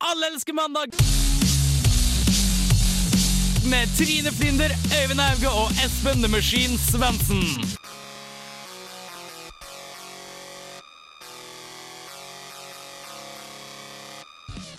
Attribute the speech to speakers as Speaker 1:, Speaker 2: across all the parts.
Speaker 1: Alle elsker mandag! Med Trine Flinder, Øyvind Auge og Espen The Machine Svendsen.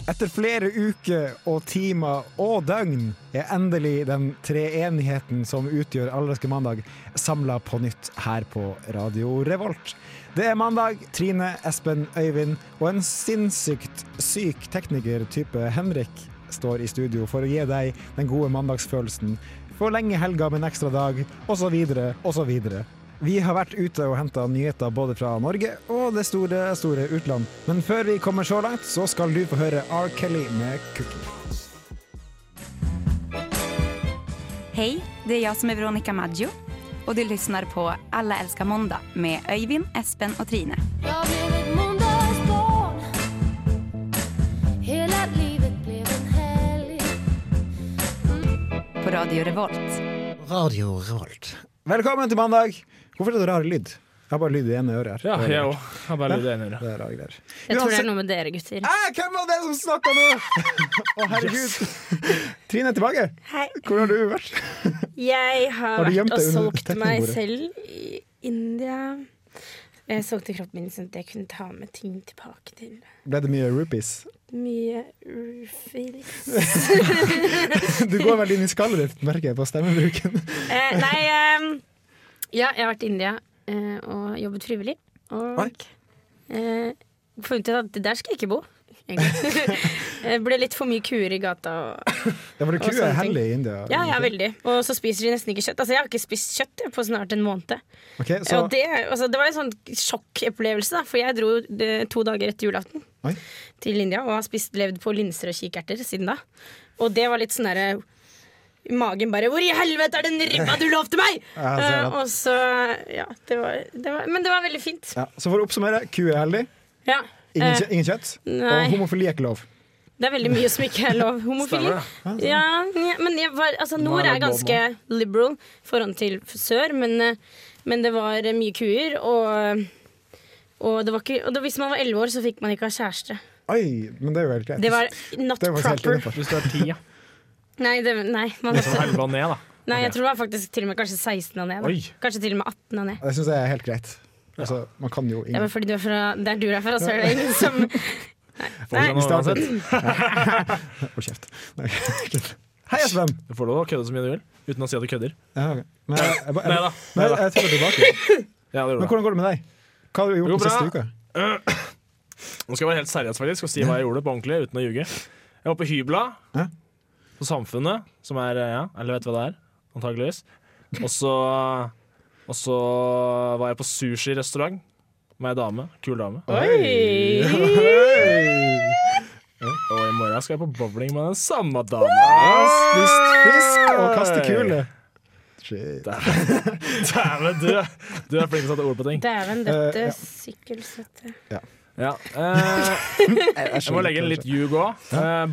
Speaker 2: Etter flere uker og timer og døgn er endelig den treenigheten som utgjør Allerske mandag, samla på nytt her på Radio Revolt. Det er mandag. Trine, Espen, Øyvind og en sinnssykt syk tekniker-type Henrik står i studio for å gi deg den gode mandagsfølelsen. Forlenge helga med en ekstra dag, osv., osv. Vi har vært ute og henta nyheter både fra Norge og det store, store utland. Men før vi kommer så langt, så skal du få høre R. Kelly med 'Cookie'.
Speaker 3: Hej, det är jag som är Veronica Maggio och du lyssnar på Alla älskar måndag med Öyvind, Espen och Trine.
Speaker 4: Jag blev ett måndagsbarn Hela livet blev en helg
Speaker 3: På Radio Revolt.
Speaker 5: Radio Revolt.
Speaker 2: Velkommen til mandag! Hvorfor er det rar lyd? Jeg har bare lyd i det ene øret her.
Speaker 6: Ja, jeg òg. Har bare lyd i ene
Speaker 2: Det er rare greier.
Speaker 7: Jeg tror det
Speaker 2: Uansett-
Speaker 7: er noe med dere, gutter.
Speaker 2: Æ, hvem var det som snakka nå?! Å, herregud. Trine er tilbake.
Speaker 7: Hei.
Speaker 2: Hvor har du vært?
Speaker 7: Jeg har,
Speaker 2: Har du gjemt
Speaker 7: vært
Speaker 2: deg under
Speaker 7: og solgt meg
Speaker 2: teknibordet?
Speaker 7: selv i India. Jeg solgte kroppen min sånn at jeg kunne ta med ting tilbake til
Speaker 2: Ble det mye rupees?
Speaker 7: mye rufils.
Speaker 2: Du går veldig inn i skallet ditt, merker jeg på stemmebruken.
Speaker 7: Eh, nei, eh, ja, jeg har vært i India eh, og jobbet frivillig. Og
Speaker 2: Oi.
Speaker 7: eh, funnet ut at der skal jeg ikke bo. egentlig. Det ble litt for mye kuer i gata. Og,
Speaker 2: Ja, for
Speaker 7: Og
Speaker 2: ku er
Speaker 7: sånne ting.
Speaker 2: hellig i India.
Speaker 7: ja, ja, veldig. Og så spiser de nesten ikke kjøtt. Altså, jeg har ikke spist kjøtt jeg, på snart en måned.
Speaker 2: Ok, så,
Speaker 7: Og det, altså, det var en sånn sjokkopplevelse, da, for jeg dro eh, to dager etter julaften
Speaker 2: Oi.
Speaker 7: til India og har spist, levd på linser og kikerter siden da. Og det var litt sånn derre Magen bare 'Hvor i helvete er den ribba du lovte meg?!'
Speaker 2: Ja, jeg ser det.
Speaker 7: Eh, og så Ja, det var, det var Men det var veldig fint.
Speaker 2: ja, så for å oppsummere, ku er hellig.
Speaker 7: Ja.
Speaker 2: Ingen,
Speaker 7: Eh,
Speaker 2: kjø- ingen kjøtt.
Speaker 7: nei.
Speaker 2: Og homofili er ikke lov.
Speaker 7: Det er veldig mye som ikke er lov. Homofili.
Speaker 6: Stemmer
Speaker 7: Ja, ja, men jeg var, altså, nord er
Speaker 6: er det lov
Speaker 7: ganske liberal i forhold til sør, men, eh, men det var eh, mye kuer. Og, og, det var ikke, og da, hvis man var elleve år, så fikk man ikke ha kjæreste.
Speaker 2: Oi, men det er jo helt greit.
Speaker 7: Det var not
Speaker 2: Det er faktisk helt
Speaker 7: proper.
Speaker 2: innenfor.
Speaker 6: Hvis du er ti, ja.
Speaker 7: Nei, det, nei, man,
Speaker 6: Så helva ned, da.
Speaker 7: nei, jeg tror det var faktisk til og med kanskje 16 og ned.
Speaker 6: Oi.
Speaker 7: Da. Kanskje til og med 18 og ned.
Speaker 2: Det syns jeg er helt greit. Altså, man kan jo
Speaker 7: Det
Speaker 2: ingen
Speaker 7: var fordi du er fra der du er fra, så er det ingen som
Speaker 6: Får du
Speaker 7: Nei.
Speaker 6: noe uansett?
Speaker 2: Hold kjeft. Nei. Hei, Espen!
Speaker 6: Du får lov å kødde så mye du vil, uten å si at du kødder.
Speaker 2: Ja, ok. Men jeg, jeg, ba-
Speaker 6: Nei
Speaker 2: jeg,
Speaker 6: da.
Speaker 2: nei, jeg tar det tilbake.
Speaker 6: Ja,
Speaker 2: Men
Speaker 6: det gjorde jeg.
Speaker 2: hvordan går det med deg? Hva har du gjort
Speaker 6: Jo,
Speaker 2: den
Speaker 6: bra.
Speaker 2: siste uka?
Speaker 6: Nå skal jeg være helt seriøs faktisk og si hva jeg gjorde på ordentlig, uten å ljuge. Jeg var på hybla
Speaker 2: Hæ?
Speaker 6: på Samfunnet, som er eh, Ja, eller vet hva det er, antageligvis. Og så Og så var jeg på sushirestaurant med ei dame. Kul dame.
Speaker 7: Oi!
Speaker 2: Hei!
Speaker 6: Og i morgen skal jeg på bowling med den samme dama.
Speaker 2: Spist fisk og kaste kule. Shit.
Speaker 6: Dæven, du, er- du er flink til å sette ord på ting.
Speaker 7: Dæven,
Speaker 2: Eh,
Speaker 7: dette
Speaker 2: ja.
Speaker 7: sykkelsøtte
Speaker 6: Ja. eh,
Speaker 2: Jeg
Speaker 6: Jeg må legge inn
Speaker 2: altså.
Speaker 6: litt ljug òg.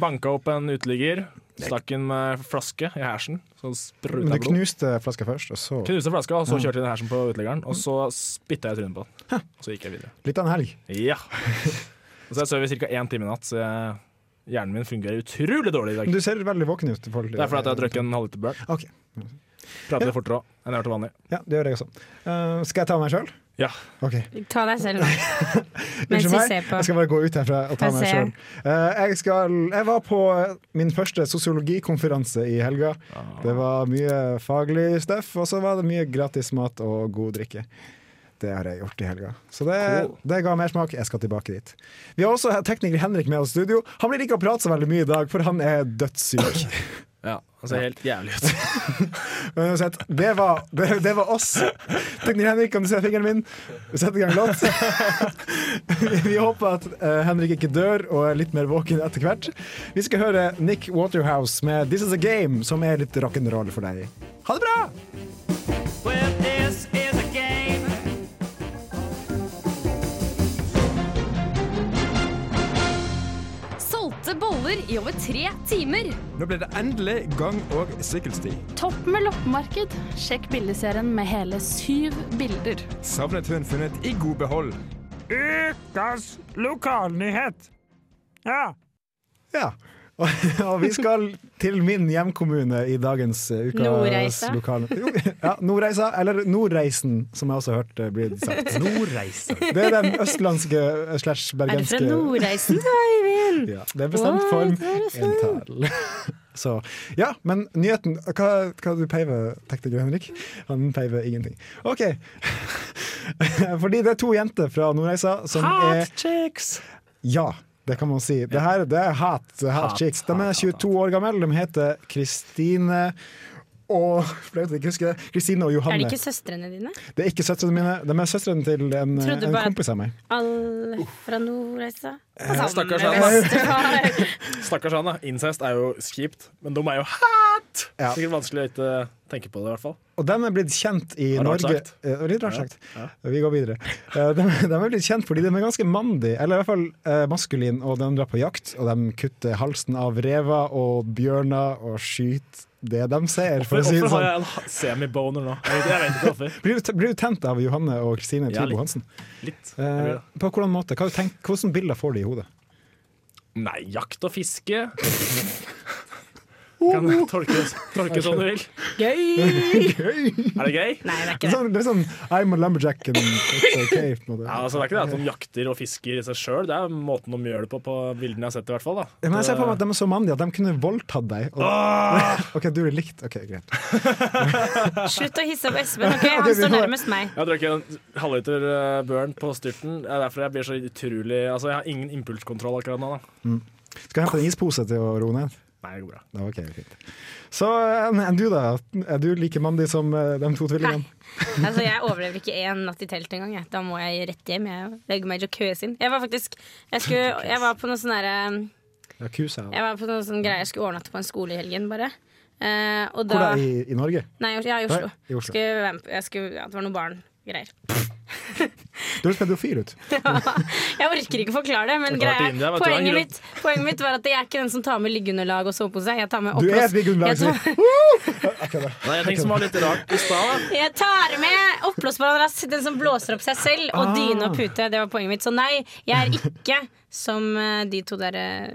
Speaker 6: Banka opp en uteligger. Stakk en eh, flaske i hersen. Så
Speaker 2: Men
Speaker 6: spruta
Speaker 2: du
Speaker 6: blod.
Speaker 2: knuste flaska først, og så
Speaker 6: Knuste flaska, og så kjørte jeg inn i hersen på uteliggeren. Og så spytta jeg i trynet på den. Og så gikk jeg videre.
Speaker 2: litt av en helg.
Speaker 6: Ja. Og så sover jeg ca. én time i natt, så jeg, hjernen min fungerer utrolig dårlig i
Speaker 2: Men
Speaker 6: dag.
Speaker 2: du ser veldig våken ut. i forhold til-
Speaker 6: Det er fordi at jeg har drukket en halvliter bjørn.
Speaker 2: Ok.
Speaker 6: Prater litt fortere òg enn jeg gjør til vanlig.
Speaker 2: Ja, det gjør jeg også. Eh, skal jeg ta meg sjøl?
Speaker 6: Ja.
Speaker 2: Ok.
Speaker 7: Ta deg selv nå. Mens
Speaker 2: Unnskyld
Speaker 7: vi
Speaker 2: meg,
Speaker 7: ser på.
Speaker 2: jeg skal bare gå ut herfra og ta
Speaker 7: Jeg
Speaker 2: meg
Speaker 7: ser.
Speaker 2: sjøl. Jeg, skal- jeg var på eh, min første sosiologikonferanse i helga. Det var mye faglig stuff, og så var det mye gratis mat og god drikke. Det har jeg gjort i helga. Så det, det ga mersmak. Jeg skal tilbake dit. Vi har også tekniker Henrik med oss i studio. Han blir ikke å prate så veldig mye i dag, for han er dødssyk.
Speaker 6: ja. Han ser helt jævlig ut.
Speaker 2: Men uansett, det var, det, det var oss. Tekniker Henrik, kan du se fingeren min? Vi setter i gang låt. Vi- Vi håper at eh, Henrik ikke dør og er litt mer våken etter hvert. Vi skal høre Nick Waterhouse med 'This Is A Game', som er litt rock'n'roll for deg. Ha det bra!
Speaker 4: Solgte boller
Speaker 5: baller i over tre timer.
Speaker 8: Nå ble det endelig gang- og sykkelsti.
Speaker 5: Topp med loppemarked. Sjekk bildeserien med hele syv bilder.
Speaker 8: Savnet hun funnet i god behold.
Speaker 9: Ukas lokalnyhet. Ja.
Speaker 2: Ja. Og, og vi skal til min hjemkommune i dagens eh, ukas
Speaker 7: Nordreisa.
Speaker 2: lokal- Jo, Ja, Nordreisa, eller Nordreisen, som jeg også har hørt eh, bli sagt.
Speaker 8: Nordreiser.
Speaker 2: Det er den østlandske eh, slash
Speaker 7: Er du
Speaker 2: bergenske
Speaker 7: fra Nordreisen, du, Øyvind?
Speaker 2: Ja, det er bestemt
Speaker 7: Wow,
Speaker 2: form
Speaker 7: det er
Speaker 2: en tall. Så, ja, men nyheten Hva, hva du peiver, tenkte du, Henrik? Han peiver ingenting. OK. Fordi det er to jenter fra Nordreisa som er
Speaker 6: Hot chicks!
Speaker 2: Ja, det kan man si. Det her det er hat, hat,
Speaker 6: Hat,
Speaker 2: chicks. De er
Speaker 6: hat,
Speaker 2: 22 år gamle. De heter Kristine og Flaut, jeg ikke husker det. Kristine og
Speaker 7: Er
Speaker 2: Johanne.
Speaker 7: det ikke søstrene dine?
Speaker 2: Det er ikke søstrene mine. De er søstrene til en,
Speaker 7: Trodde
Speaker 2: en
Speaker 7: bare-
Speaker 2: kompis av meg.
Speaker 7: Alle fra Nordreisa?
Speaker 6: Stakkars han, da. Stakkars han, da. Incest er jo kjipt, men de er jo hat!
Speaker 2: Ja.
Speaker 6: Sikkert vanskelig å ikke tenke på det, i hvert fall.
Speaker 2: Og de er blitt kjent i
Speaker 6: Ja, rart
Speaker 2: Norge
Speaker 6: sagt.
Speaker 2: Eh, Litt rart sagt. Vi går videre. Eh, De, de er blitt kjent fordi de er ganske mandig, eller i hvert fall eh, maskulin, og de drar på jakt. Og de kutter halsen av rever og bjørner og skyter det de ser, for å si det
Speaker 6: Hvorfor har
Speaker 2: sånn.
Speaker 6: jeg en ha- semiboner nå? Jeg vet, jeg vet ikke hvorfor.
Speaker 2: Blir du, blir du tent av Johanne og Kristine
Speaker 6: Ja,
Speaker 2: Tribo
Speaker 6: litt.
Speaker 2: Hansen?
Speaker 6: Litt. Jeg
Speaker 2: Eh,
Speaker 6: blir det.
Speaker 2: på hvordan måte? Hva du tenker, hvordan bilder får de i hodet?
Speaker 6: Nei, jakt og fiske.
Speaker 2: Uh.
Speaker 6: Kan tolkes, tolkes som du vil.
Speaker 7: Gøy!
Speaker 6: Er det gøy?
Speaker 7: Nei, det er
Speaker 2: Det er
Speaker 7: ikke det.
Speaker 2: sånn, det er sånn I'm a lumberjack and it's okay. På en måte.
Speaker 6: Ja, altså, det er ikke det at de jakter og fisker i seg sjøl, det er måten de gjør det på på bildene jeg har sett. i hvert fall da.
Speaker 2: Men jeg ser
Speaker 6: eh.
Speaker 2: for meg at de er så mandige at de kunne voldtatt deg. Og, OK, du er likt. OK, greit.
Speaker 7: Slutt å hisse opp Espen. ok?
Speaker 2: Ok, vi
Speaker 7: Han står
Speaker 2: får-
Speaker 7: nærmest meg.
Speaker 6: Jeg har drukket en halvliter eh, Burn på styrten. Det er derfor jeg blir så utrolig Altså, jeg har ingen impulskontroll akkurat nå. da.
Speaker 2: Skal jeg hente en ispose til å roe ned?
Speaker 6: Nei, det går bra.
Speaker 2: Ja, ok, fint. Så enn enn du, da? Er du like mandig som eh, de to tvillingene?
Speaker 7: Altså, jeg overlever ikke én natt i telt engang. jeg. Da må jeg rett hjem. Jeg legger meg i jacuzzien. Jeg var faktisk Jeg, skulle, jeg var på noe sånn derre
Speaker 2: Ja, Kusa.
Speaker 7: Jeg var på noe sånn greier jeg skulle overnatte på en skole i helgen, bare. Eh, og
Speaker 2: Hvor
Speaker 7: da
Speaker 2: da? I, I Norge?
Speaker 7: Nei, jeg er i Oslo.
Speaker 2: Nei, i Oslo.
Speaker 7: Skulle være med på- jeg skulle, ja, det var noen barngreier.
Speaker 2: Du høres pedofil ut.
Speaker 7: Jeg orker ikke forklare det, men
Speaker 6: Det har vært
Speaker 7: greia,
Speaker 6: i India, vet du, det er
Speaker 7: poenget,
Speaker 6: en
Speaker 7: mitt, poenget mitt var at jeg er ikke den som tar med liggeunderlag og sovepose. Jeg tar med
Speaker 2: Du er
Speaker 7: oppblås-
Speaker 2: et Vigundlag.
Speaker 7: Jeg tar-
Speaker 6: Nei, jeg tenkte som var litt rart i stad. da.
Speaker 7: Jeg tar med oppblåsbar madrass, den som blåser opp seg selv,
Speaker 2: Ah.
Speaker 7: og dyne og pute. Det var poenget mitt. Så nei, jeg er ikke som eh, de to der eh,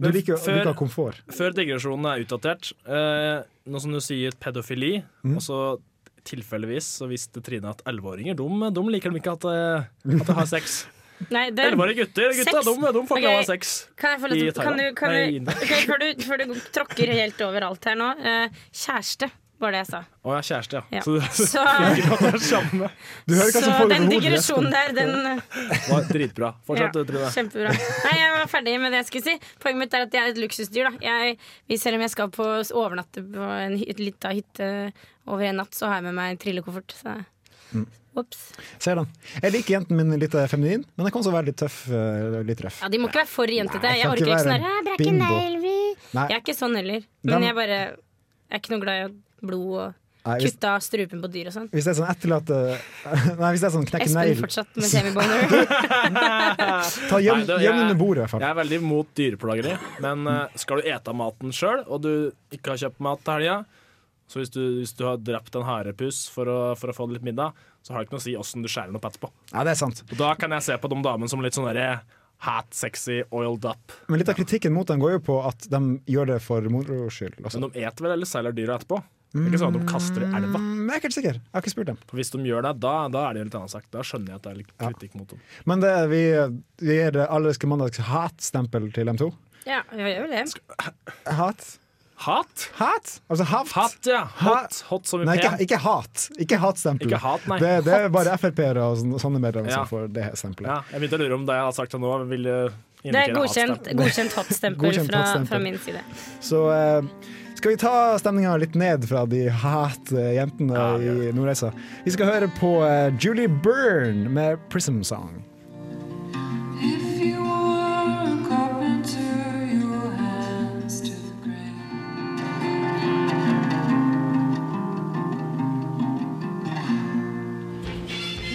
Speaker 2: Du liker å
Speaker 6: Før-
Speaker 2: bruke komfort.
Speaker 6: Før digresjonen er utdatert, eh, nå som du sier pedofili,
Speaker 7: Mm.
Speaker 6: og så tilfeldigvis så visste Trine at 11-åringer de, de liker de ikke at, eh, at de har sex.
Speaker 7: Nei, det
Speaker 6: 11-årige gutter gutta,
Speaker 7: Sex?
Speaker 6: de, de får ikke
Speaker 7: Ok.
Speaker 6: ha sex.
Speaker 7: kan jeg få
Speaker 6: i
Speaker 7: lov til kan du,
Speaker 6: Thailand.
Speaker 7: kan
Speaker 6: Nei, i
Speaker 7: du,
Speaker 6: India.
Speaker 7: ok, før, du, før du tråkker helt over alt her nå eh, Kjæreste var det jeg sa.
Speaker 6: Å, jeg har kjæreste, ja.
Speaker 7: Ja.
Speaker 6: Så, så
Speaker 7: Så,
Speaker 6: det er samme.
Speaker 2: Du hører hva som
Speaker 7: så
Speaker 2: foregår
Speaker 7: den
Speaker 2: med hodet, Espen.
Speaker 7: digresjonen der, den
Speaker 6: Det var dritbra.
Speaker 7: Ja,
Speaker 6: Fortsett, du, Trine.
Speaker 7: Kjempebra. Nei, jeg var ferdig med det jeg skulle si. Poenget mitt er at jeg er et luksusdyr. Da. Jeg, hvis- selv om jeg skal på overnatte på en hy- lita hytte over en natt, så har jeg med meg en trillekoffert. Så.
Speaker 2: Mm.
Speaker 7: Ops.
Speaker 2: Ser den. Jeg liker jenten min litt eh, feminin, men jeg kan også være litt tøff. eh, Litt røff.
Speaker 7: Ja, de må ikke være for jentete.
Speaker 2: Nei, kan ikke
Speaker 7: Jeg orker ikke
Speaker 2: være
Speaker 7: sånn her, «Ah, brekke
Speaker 2: bimbo».
Speaker 7: negler».
Speaker 2: Nei.
Speaker 7: Jeg er ikke sånn heller.
Speaker 2: Dem-
Speaker 7: Men jeg bare jeg er ikke noe glad i blod og
Speaker 2: Nei, hvis,
Speaker 7: kutta strupen på dyr og sånn.
Speaker 2: hvis det er sånn etterlate Nei, hvis det er sånn knekke
Speaker 7: Espen
Speaker 2: negl,
Speaker 7: fortsatt med semiboner.
Speaker 2: ta gjem,
Speaker 6: Nei, det-
Speaker 2: gjem
Speaker 6: jeg-
Speaker 2: under bordet, i hvert fall.
Speaker 6: Jeg er veldig imot dyreplageri, men eh, skal du ete av maten sjøl, og du ikke har kjøpt mat til helga, så hvis du, hvis du har drept en harepus for å, for å få litt middag, så har det ikke noe å si åssen du skjærer den opp etterpå.
Speaker 2: Ja, det er sant.
Speaker 6: Og da kan jeg se på de damene som litt sånn derre Hat, sexy, oiled up.
Speaker 2: Men litt av kritikken mot dem går jo på at de gjør det for moro skyld. Altså.
Speaker 6: Men de eter vel eller selger dyra etterpå? Det er ikke sånn at de kaster i elva.
Speaker 2: Mm, jeg er ikke helt sikker. Jeg har ikke spurt dem.
Speaker 6: For hvis de gjør det, da, da er det jo litt annen sak. Da skjønner jeg at det er litt kritikk mot dem.
Speaker 2: Men det, vi, vi gir Allerske mandags hat-stempel til dem to.
Speaker 7: ja, vi gjør vel det.
Speaker 2: Hat?
Speaker 6: Hat?
Speaker 2: Hat? Altså haft?
Speaker 6: Hat, ja. Hot,
Speaker 2: Ha-
Speaker 6: hot som i
Speaker 2: Nei, ikke,
Speaker 6: pen.
Speaker 2: ikke hat. Ikke hat-stempel.
Speaker 6: Ikke hat, nei.
Speaker 2: det, det er bare Frp-ere og sånn- sånne, sånne medlemmer
Speaker 6: Ja.
Speaker 2: som får det stempelet.
Speaker 6: Ja, jeg begynte å lure om det jeg har sagt til nå, ville
Speaker 7: Det er
Speaker 6: indikere
Speaker 7: godkjent,
Speaker 6: hatstempel.
Speaker 7: godkjent hot-stempel
Speaker 2: Godkjent
Speaker 7: fra,
Speaker 2: hot-stempel.
Speaker 7: fra min side.
Speaker 2: Så eh, skal vi ta stemninga litt ned fra de hat-jentene
Speaker 6: Ja, vi gjør
Speaker 2: i Nordreisa. Vi skal høre på eh, Julie Byrne med 'Prism Song'.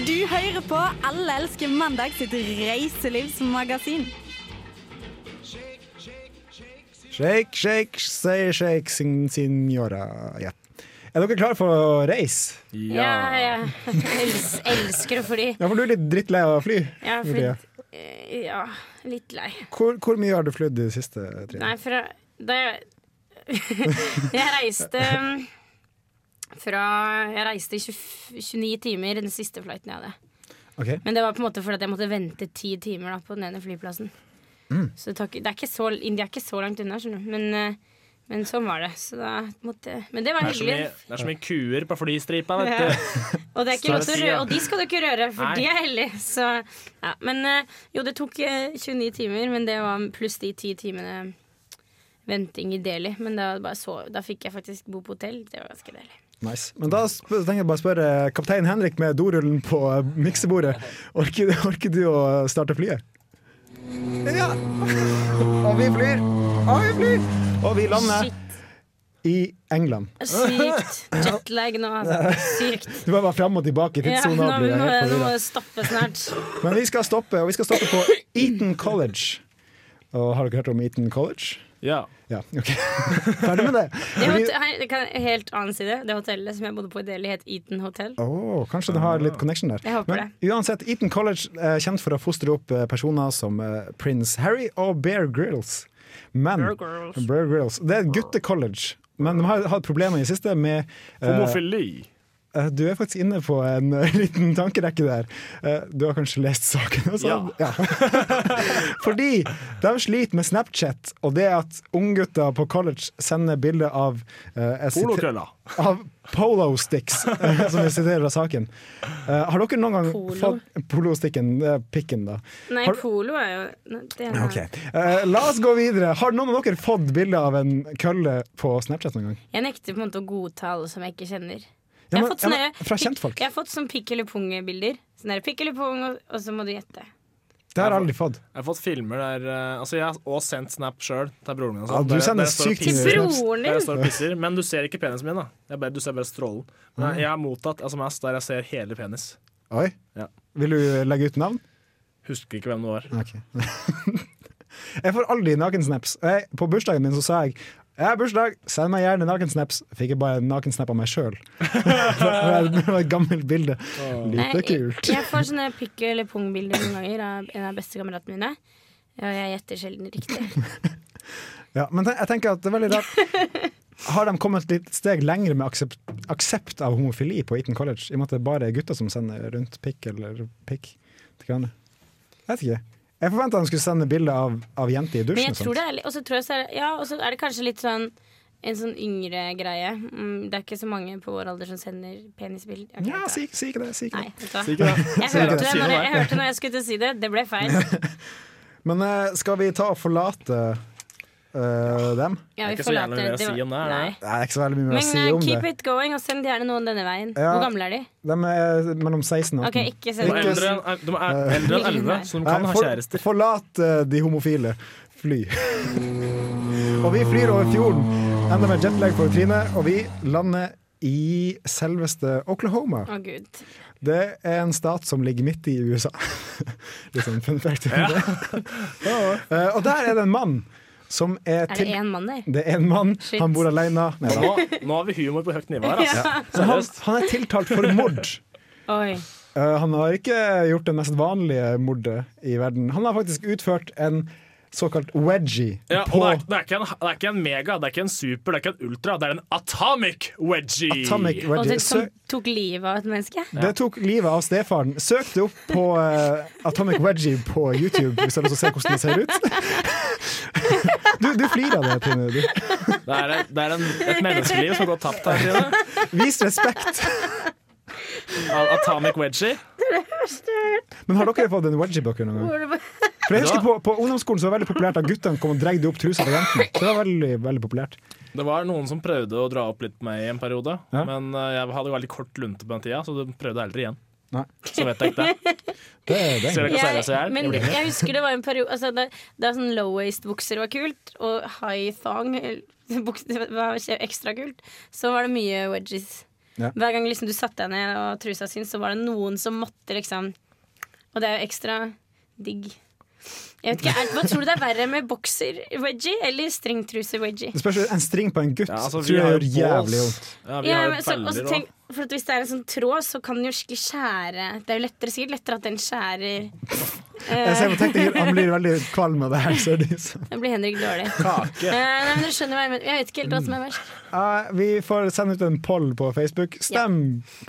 Speaker 3: Du hører på Alle elsker mandag sitt reiselivsmagasin.
Speaker 10: Shake, shake, shake,
Speaker 2: Shake, shake, say shake, sin, signora. Ja. Er dere klare for å reise?
Speaker 7: Ja, jeg els- elsker å fly.
Speaker 2: Ja, for du er litt drittlei av å fly.
Speaker 7: Jeg har
Speaker 2: Maria.
Speaker 7: flytt eh, Ja, litt lei.
Speaker 2: Hvor, hvor mye har du flydd i det siste? Trine?
Speaker 7: Nei, fra Da jeg Jeg reiste um, fra Jeg reiste i 20 29 timer den siste flighten jeg hadde.
Speaker 2: Ok.
Speaker 7: Men det var på en måte fordi at jeg måtte vente ti timer da, på den ene flyplassen. Så det, tar ikke- det er ikke så, India er ikke så langt unna, skjønner du. Men, eh, men sånn var det. Så da måtte jeg Men det var
Speaker 6: Det er så
Speaker 7: hyggelig.
Speaker 6: mye, det er så mye kuer på flystripa, vet du.
Speaker 7: Og, det er ikke
Speaker 6: Så
Speaker 7: lov til å
Speaker 6: det sier
Speaker 7: røre,
Speaker 6: jeg.
Speaker 7: og de skal du ikke røre, for
Speaker 6: Nei.
Speaker 7: de er hellige. Så, ja. Men eh, jo, det tok eh, 29 timer, men det var pluss de ti timene venting i Delhi. Men da, bare så, da fikk jeg faktisk bo på hotell. Det var ganske deilig.
Speaker 2: Nice. Men da sp- tenker jeg bare å spørre kaptein Henrik med dorullen på eh, miksebordet. Orker, orker du å starte flyet? Ja. Og vi flyr. Og vi flyr. Og vi lander
Speaker 7: Shit.
Speaker 2: i England.
Speaker 7: Sykt jetlag nå, altså. Sykt.
Speaker 2: Du var bare fram og tilbake i
Speaker 7: Ja,
Speaker 2: tidssona. og
Speaker 7: nå, nå,
Speaker 2: blir helt
Speaker 7: nå må
Speaker 2: forvirret.
Speaker 7: det stoppe snart.
Speaker 2: Men vi skal stoppe, og vi skal stoppe på Eton College. Og har dere hørt om Eton College?
Speaker 6: Ja.
Speaker 2: Ja, OK. Ferdig med det.
Speaker 7: Det hot- her- det kan, helt annen side. Det hotellet som jeg bodde på i Delhi, het Eton Hotel.
Speaker 2: Åh, kanskje det har litt connection der.
Speaker 7: Jeg håper
Speaker 2: Men uansett, Eton College er kjent for å fostre opp eh, personer som eh, prins Harry og Bear Grylls. Men
Speaker 7: Bear Grylls.
Speaker 2: Bear Grylls. Det er et guttecollege, men de har hatt problemer i det siste med eh,
Speaker 6: Homofili.
Speaker 2: eh, Du er faktisk inne på en eh, liten tankerekke der. Eh, du har kanskje lest saken? Også?
Speaker 6: Ja.
Speaker 2: Fordi de sliter med Snapchat, og det at unggutter på college sender bilder av eh, jeg siter-
Speaker 6: Polokølla.
Speaker 2: av polo sticks, eh, som vi siterer fra saken. Eh, har dere noen gang
Speaker 7: Polo?
Speaker 2: fått polostikken, eh, pikken, da?
Speaker 7: Nei,
Speaker 2: Har-
Speaker 7: Polo er jo nei, det er,
Speaker 2: Ok. Eh, la oss gå videre. Har noen av dere fått bilde av en kølle på Snapchat noen gang?
Speaker 7: Jeg nekter på en måte å godta alle som jeg ikke kjenner.
Speaker 2: Ja, men-
Speaker 7: jeg har fått sånne,
Speaker 2: ja, men fra kjentfolk.
Speaker 7: Jeg har fått sånn pikk eller pung-bilder. Sånn der pikk eller pung, og, og så må du gjette.
Speaker 2: Det har jeg aldri fått.
Speaker 6: Jeg har fått filmer der eh, Altså, jeg har også sendt snap sjøl til broren min. og
Speaker 2: Ja,
Speaker 6: sånt.
Speaker 2: du
Speaker 6: Der-
Speaker 2: sender
Speaker 6: der jeg står og
Speaker 2: sykt
Speaker 7: Til
Speaker 2: mye
Speaker 6: pisser.
Speaker 2: snaps.
Speaker 7: broren
Speaker 6: Der jeg
Speaker 7: din!
Speaker 6: står og pisser, men du ser ikke penisen min, da. Jeg bare, du ser bare strålen. Men jeg, jeg har mottatt SMS der jeg ser hele penis.
Speaker 2: Oi.
Speaker 6: Ja.
Speaker 2: Vil du legge ut navn?
Speaker 6: Husker ikke hvem det var.
Speaker 2: Ok. jeg får aldri nakensnaps. Jeg, på bursdagen min så sa jeg jeg har bursdag, send meg gjerne nakensnaps. Fikk jeg bare en nakensnap av meg sjøl. det var et gammelt bilde. Lite
Speaker 7: jeg,
Speaker 2: kult.
Speaker 7: jeg får sånne pikk eller pung-bilder noen ganger av en av bestekameratene mine. Og jeg gjetter sjelden riktig.
Speaker 2: Ja, men te- jeg tenker at det er veldig rart Har de kommet et litt steg lenger med aksept, aksept av homofili på Eton College? I og med at det bare er gutter som sender rundt pikk eller pikk til hverandre? Jeg vet ikke. Jeg forventa de skulle sende bilde av, av jenter i
Speaker 7: Men
Speaker 2: dusjen.
Speaker 7: jeg tror det er litt Og så tror jeg så er, det- ja, og så er det kanskje litt sånn en sånn yngre greie. Mm, Det er ikke så mange på vår alder som sender penisbilder. Jeg kan
Speaker 2: Ja,
Speaker 7: ikke-
Speaker 2: si, si ikke det. Si ikke
Speaker 7: Nei,
Speaker 2: det.
Speaker 7: vet du hva.
Speaker 6: Ikke
Speaker 7: Jeg
Speaker 6: det?
Speaker 7: hørte det
Speaker 6: Si
Speaker 7: når
Speaker 6: noe
Speaker 7: jeg,
Speaker 6: der.
Speaker 7: jeg hørte når jeg skulle til å si det. Det ble feil.
Speaker 2: Men eh, skal vi ta og forlate eh, dem?
Speaker 7: Ja,
Speaker 6: Det er
Speaker 7: vi
Speaker 6: ikke så
Speaker 7: forlater
Speaker 6: jævlig mye å
Speaker 7: var-
Speaker 6: si om det, er det?
Speaker 7: Nei.
Speaker 2: Det er ikke så veldig mye mer
Speaker 7: Men
Speaker 2: å si
Speaker 7: eh,
Speaker 2: om
Speaker 7: keep
Speaker 2: det.
Speaker 7: it going, og send gjerne noen denne veien.
Speaker 2: Ja.
Speaker 7: Hvor gamle er de?
Speaker 2: De er mellom 16 og
Speaker 7: Ok,
Speaker 2: 18.
Speaker 7: ikke
Speaker 6: De
Speaker 7: send
Speaker 6: er
Speaker 2: Ikke-
Speaker 6: eldre enn- de er eldre enn 11, så de
Speaker 2: Nei,
Speaker 6: kan ha
Speaker 2: for-
Speaker 6: kjærester.
Speaker 2: Forlat eh, de homofile. Fly. og vi flyr over fjorden. Enda med jetlag for Trine, og vi lander i selveste Oklahoma.
Speaker 7: Å gud.
Speaker 2: Det er en stat som ligger midt i USA. Litt sånn fun fact. om det. Eh, og der er det en mann som er,
Speaker 7: Er det
Speaker 2: til...
Speaker 7: én mann der?
Speaker 2: Det er en mann,
Speaker 7: Shit.
Speaker 2: han bor alene. Nei, da.
Speaker 6: Nå, nå har vi humor på høyt nivå her, altså.
Speaker 2: Så han, han er tiltalt for mord.
Speaker 7: Oi.
Speaker 2: Eh, han har ikke gjort det mest vanlige mordet i verden. Han har faktisk utført en såkalt wedgie
Speaker 6: Ja, og
Speaker 2: på
Speaker 6: det er, det, er ikke en, det er ikke en mega, det er ikke en super, det er ikke en ultra. Det er en atomic wedgie!
Speaker 2: Atomic
Speaker 7: Og
Speaker 2: Wedgie.
Speaker 7: det som
Speaker 2: Sø-
Speaker 7: tok livet av et menneske?
Speaker 2: det tok livet av stefaren. Søk det opp på eh, Atomic Wedgie på YouTube, hvis du har lyst til å se hvordan det ser ut. Du, du flirer av det, Trine. Du.
Speaker 6: Det er, det er en, et menneskeliv som har gått tapt her. Trine.
Speaker 2: Vis respekt.
Speaker 6: Av Atomic wedgie.
Speaker 2: Men har dere fått en wedgie-bøker noen gang? For jeg husker på, på ungdomsskolen så var det veldig populært at guttene kom og dreide opp trusa til jentene. Det var veldig, veldig populært.
Speaker 6: Det var noen som prøvde å dra opp litt på meg i en periode,
Speaker 2: Ja.
Speaker 6: men eh, jeg hadde veldig kort lunte på den tida, så de prøvde aldri igjen.
Speaker 2: Nei.
Speaker 6: Så vet jeg ikke det.
Speaker 2: Det, det.
Speaker 6: Ser dere hvor seriøs jeg er?
Speaker 7: men
Speaker 6: Jeg blir ikke.
Speaker 7: jeg husker det var en periode altså, da, da sånn low-waist-bukser var kult, og high thong eh, bukser var ekstra kult, så var det mye wedgies.
Speaker 2: Ja.
Speaker 7: Hver gang liksom, du satte deg ned og trusa syns, så var det noen som måtte liksom Og det er jo ekstra digg. Jeg vet ikke, er, Hva tror du det er verre med bokser-wedgie eller strengtruse-wedgie?
Speaker 2: Det spørs en string på en gutt.
Speaker 6: Ja, altså, vi
Speaker 2: tror jeg
Speaker 6: har
Speaker 2: gjør
Speaker 6: jo balls.
Speaker 2: jævlig vondt.
Speaker 6: Ja, vi
Speaker 7: Ja,
Speaker 6: har
Speaker 7: men
Speaker 6: jo
Speaker 7: så, og så
Speaker 6: feller
Speaker 7: tenk, for at Hvis det er en sånn tråd, så kan den jo skikkelig skjære Det er jo lettere, sikkert lettere at den skjærer
Speaker 2: Eh, Jeg ser på teknikeren, han blir veldig kvalm av det her. Så det er liksom.
Speaker 7: Eh, Da blir Henrik dårlig.
Speaker 6: og kake.
Speaker 7: Eh, nei, men dere skjønner hva Jeg mener Jeg vet ikke helt hva som er verst.
Speaker 2: Eh, vi får sende ut en poll på Facebook. Stem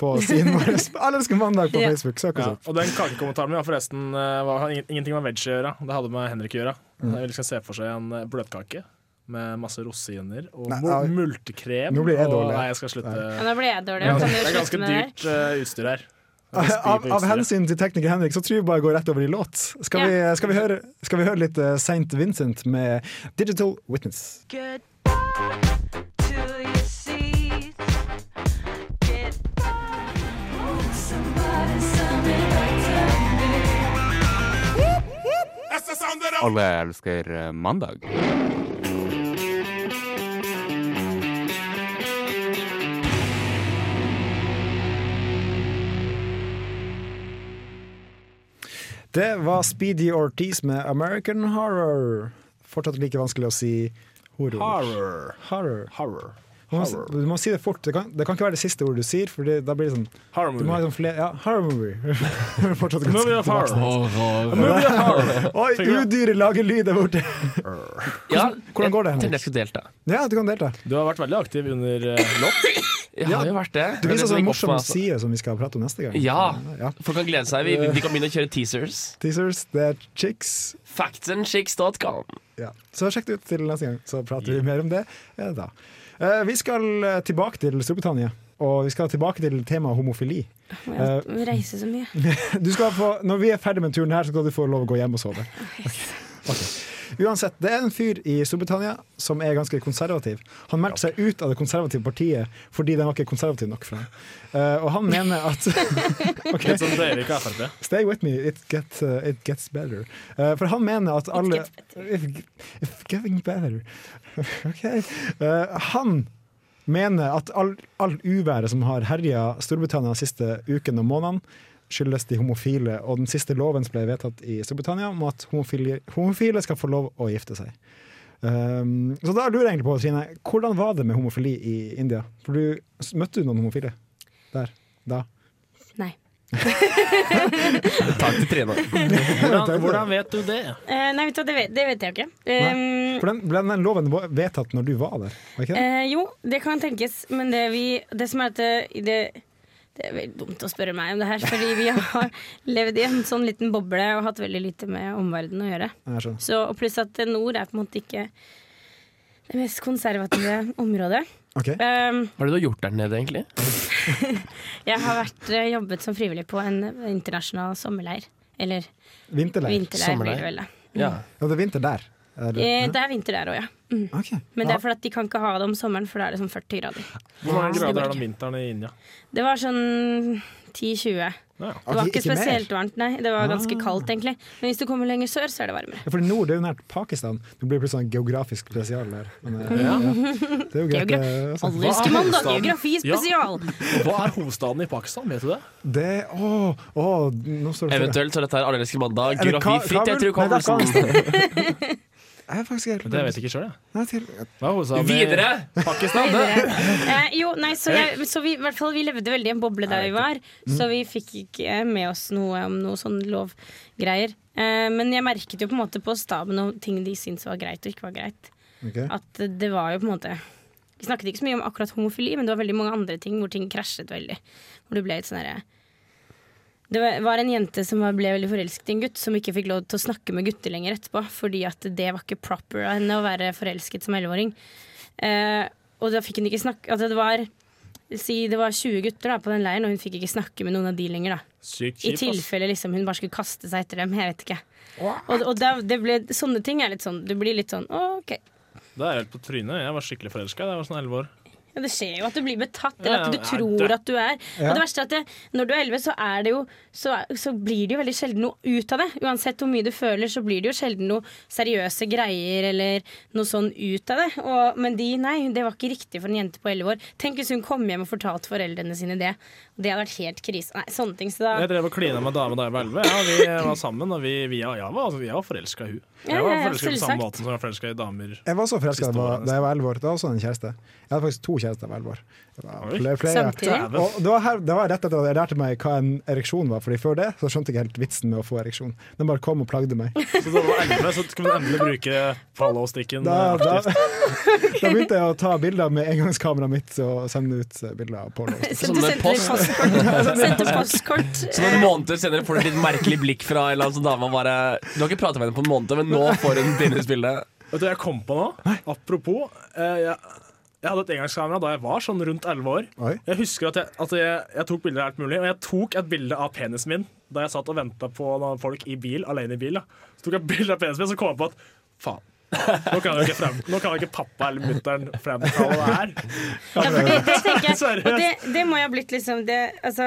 Speaker 2: på siden vår. Alle elsker mandag på
Speaker 7: Ja.
Speaker 2: Facebook. sånn. Søk oss
Speaker 6: Ja.
Speaker 2: opp.
Speaker 6: Og den kakekommentaren min har forresten eh, var, har ingen- ingenting med veggie å gjøre. Det hadde med Henrik å gjøre.
Speaker 2: Mm.
Speaker 6: Jeg skal se for seg en eh, bløtkake med masse rosiner og
Speaker 2: Nei,
Speaker 6: mul-
Speaker 2: nei.
Speaker 6: multekrem.
Speaker 2: Nå blir jeg
Speaker 6: og-
Speaker 2: dårlig.
Speaker 6: Nei, jeg skal slutte.
Speaker 7: Ja, da ble jeg dårlig.
Speaker 6: Ja,
Speaker 7: Kan
Speaker 6: det
Speaker 7: dere
Speaker 6: er
Speaker 7: slutte
Speaker 6: ganske
Speaker 7: med det her?
Speaker 6: dyrt eh, utstyr her. Jeg skal spy
Speaker 2: Av,
Speaker 6: på
Speaker 2: av
Speaker 6: utstyret.
Speaker 2: hensyn til tekniker Henrik så tror jeg bare jeg går rett over i låt. Skal, vi, skal, vi, høre, skal vi høre litt eh, Saint Vincent med 'Digital Witness'?
Speaker 10: Alle elsker eh, mandag.
Speaker 2: Det var Speedy Ortiz med 'American Horror'. Fortsatt like vanskelig å si horror.
Speaker 6: Horror.
Speaker 2: Horror.
Speaker 6: Horror.
Speaker 2: Du, må, si- du må si det fort. Det kan, det kan ikke være det siste ordet du sier, for det, da blir det sånn
Speaker 6: Horror
Speaker 2: Du må ha
Speaker 6: movie.
Speaker 2: sånn flere Ja, horror movie. Fortsatt ganske
Speaker 6: Movie of
Speaker 2: tilbake.
Speaker 6: horror.
Speaker 10: Horror.
Speaker 2: Oi, udyret lager lyd der borte!
Speaker 11: Ja,
Speaker 2: Hvordan går det?
Speaker 11: jeg
Speaker 2: Henrik?
Speaker 11: tenkte jeg skulle delta.
Speaker 2: Ja, du kan delta.
Speaker 6: Du har vært veldig aktiv under eh, låt.
Speaker 11: Jeg har jo vært det.
Speaker 2: Du
Speaker 11: Det er
Speaker 2: viser
Speaker 11: det som
Speaker 2: sånn
Speaker 11: gikk
Speaker 2: morsom
Speaker 11: opp, altså.
Speaker 2: side som vi skal prate om neste gang.
Speaker 11: Ja,
Speaker 2: Ja.
Speaker 11: folk kan glede seg. Vi, vi- vi kan begynne å kjøre teasers.
Speaker 2: Teasers, det er chicks.
Speaker 11: Factsandchicks.com.
Speaker 2: Ja. Så sjekk det ut til neste gang, så prater vi mer om det eh, da. Eh, Vi skal eh, tilbake til Storbritannia, og vi skal tilbake til temaet homofili.
Speaker 7: Må jeg
Speaker 6: Eh,
Speaker 7: må reise så mye.
Speaker 2: Du skal få, når vi er ferdig med turen her, så skal du få lov å gå hjem og sove. Ok. Ok. Uansett, Det er en fyr i Storbritannia som er ganske konservativ. Han meldte seg ut av det konservative partiet fordi den var ikke konservativ nok for ham. Eh, og han mener at Ok.
Speaker 6: Litt sånn Breivik og Frp.
Speaker 2: Stay with me, it, get, uh, it gets better. Uh, for han mener at alle If, if getting better. ok. Uh, han mener at all, all uværet som har herja Storbritannia de siste ukene og månedene, skyldes de homofile, og den siste loven som ble vedtatt i Storbritannia om at homofile, homofile skal få lov å gifte seg. Um, så da lurer jeg egentlig på, Trine, hvordan var det med homofili i India? For du, Møtte du noen homofile der? Da?
Speaker 7: Nei.
Speaker 11: Takk til Trine.
Speaker 6: Hvordan, hvordan vet du det?
Speaker 7: Eh, nei, vet du, hva, det vet, det vet jeg jo ikke. Um,
Speaker 2: For den, ble den loven var- vedtatt når du var der? Var ikke det?
Speaker 7: eh, jo, det kan tenkes, men det, vi, det som er at det, det det er veldig dumt å spørre meg om det her, fordi vi har levd i en sånn liten boble og hatt veldig lite med omverdenen å gjøre.
Speaker 2: Jeg skjønner.
Speaker 7: Så, og pluss at nord er på en måte ikke det mest konservative området.
Speaker 2: Ok.
Speaker 7: Um,
Speaker 11: Hva er det du har gjort der nede, egentlig?
Speaker 7: jeg har vært, eh, jobbet som frivillig på en internasjonal sommerleir. Eller
Speaker 2: Vinterleir.
Speaker 7: vinterleir, blir
Speaker 11: Sommerleir.
Speaker 7: det vel. da.
Speaker 11: Ja.
Speaker 2: Ja, det er vinter der. Er det-
Speaker 7: Eh, Det er vinter der òg, ja. Mm.
Speaker 2: Ok.
Speaker 7: Men det er fordi at de kan ikke ha det om sommeren, for da er det sånn 40 grader.
Speaker 6: Hvor mange grader er det om vinteren i India?
Speaker 7: Det var sånn 10-20.
Speaker 6: Ja.
Speaker 7: Det var
Speaker 2: Ok,
Speaker 7: ikke
Speaker 2: Ah, ikke mer?
Speaker 7: spesielt varmt, nei. Det var ganske
Speaker 2: Ah.
Speaker 7: kaldt, egentlig. Men hvis du kommer lenger sør, så er det varmere.
Speaker 2: Ja, for nord er jo nært Pakistan. Det blir plutselig sånn geografisk spesial der. Men, eh, ja. Det er jo greit.
Speaker 7: Geogra-
Speaker 2: eh, sånn.
Speaker 7: Alle elsker mandag,
Speaker 6: hovedstaden?
Speaker 7: geografi
Speaker 6: Ja.
Speaker 7: spesial!
Speaker 6: Hva er hovedstaden i Pakistan? Vet du det?
Speaker 2: Det Å, å, nå står det for det.
Speaker 11: Eventuelt så er dette her Alle elsker mandag.
Speaker 2: Er det Ka-
Speaker 11: Geografi fritt
Speaker 2: Kabul?
Speaker 11: etter
Speaker 2: Nei, det er
Speaker 11: hukommelsen.
Speaker 2: Jeg er faktisk helt
Speaker 6: Men Det vet jeg ikke sjøl, jeg.
Speaker 2: Nei, til-
Speaker 6: Hva er hovedstaden i-
Speaker 11: Videre!
Speaker 6: Pakistan? Det.
Speaker 7: Eh, jo, nei, så, jeg, så vi, i hvert fall, vi levde veldig i en boble der vi var, så vi fikk ikke med oss noe om noe sånn lovgreier. Eh, men jeg merket jo på en måte på staben om ting de syntes var greit og ikke var greit.
Speaker 2: ok.
Speaker 7: At det var jo på en måte Vi snakket ikke så mye om akkurat homofili, men det var veldig mange andre ting hvor ting krasjet veldig. Hvor det ble et sånn herre det var- var en jente som var- ble veldig forelsket i en gutt, som ikke fikk lov til å snakke med gutter lenger etterpå, fordi at det var ikke proper av henne å være forelsket som 11-åring. Eh, og da fikk hun ikke snakke altså det var, Si det var 20 gutter da, på den leiren, og hun fikk ikke snakke med noen av de lenger. da
Speaker 6: Sykt
Speaker 7: i
Speaker 6: kjipt. ass.
Speaker 7: tilfelle liksom hun bare skulle kaste seg etter dem. Jeg vet ikke. Og, og da, det ble, sånne ting er litt sånn Du blir litt sånn «Å, OK.
Speaker 6: Det er helt på trynet. Jeg var skikkelig forelska da jeg var sånn 11 år.
Speaker 7: Men det skjer jo at du blir betatt,
Speaker 6: Ja,
Speaker 7: eller at du
Speaker 6: ja,
Speaker 7: tror
Speaker 6: det-
Speaker 7: at du er.
Speaker 6: Ja.
Speaker 7: Og det verste er at det, når du er 11, så, er det jo, så, så blir det jo veldig sjelden noe ut av det. Uansett hvor mye du føler, så blir det jo sjelden noe seriøse greier eller noe sånn ut av det. Og, men de, nei, det var ikke riktig for en jente på 11 år. Tenk hvis hun kom hjem og fortalte foreldrene sine det. Det hadde vært helt krise. Nei, sånne ting. Så da
Speaker 6: Jeg drev og klina med en dame da jeg var 11. Ja, vi var sammen, og vi, vi, ja, jeg var, jeg var forelska i hun
Speaker 7: Ja,
Speaker 6: Jeg var
Speaker 7: ja, ja,
Speaker 6: forelska på samme
Speaker 7: selvsagt.
Speaker 6: måten som jeg var forelska i damer.
Speaker 2: Jeg var så forelska
Speaker 6: Siste
Speaker 2: da
Speaker 6: året,
Speaker 2: da jeg var elleve år. Da hadde jeg også en kjæreste. Jeg hadde faktisk to kjærester på elleve år. Det var
Speaker 6: Oi.
Speaker 2: Flere, flere.
Speaker 6: Samtidig?
Speaker 2: Og det var, her, det var rett etter at jeg lærte meg hva en ereksjon var, Fordi før det så skjønte jeg ikke helt vitsen med å få ereksjon. Den bare kom og plagde meg.
Speaker 6: Så da jeg var 11, så kunne man endelig bruke pallåstikken
Speaker 2: Da, da,
Speaker 6: aktivt.
Speaker 2: da begynte jeg å ta bilder med engangskameraet mitt og sende ut eh, bilder av porno.
Speaker 7: Sendte- Som
Speaker 6: sånn
Speaker 7: sendte post. postkort. Sendte postkort.
Speaker 11: Så noen måneder senere får du et litt merkelig blikk fra en eller annen sånn dame. og Bare, du har ikke pratet med henne på en måned, men nå får hun bindesbilde.
Speaker 6: Vet du hva jeg kom på nå? Apropos. Eh, jeg, jeg hadde et engangskamera da jeg var sånn rundt 11 år.
Speaker 2: Oi.
Speaker 6: Jeg husker at, jeg, at jeg, jeg tok bilder av alt mulig, og jeg tok et bilde av penisen min da jeg satt og venta på noen folk i bil, alene i bil. Da. Så tok jeg bilde av penisen min, så kom jeg på at faen. Nå kan jo ikke, frem, nå kan jo ikke pappa eller mutter'n fremkalle det her.
Speaker 7: Ja, for det, det tenker jeg.
Speaker 6: Seriøst.
Speaker 7: Og det, det må jo ha blitt liksom det, altså,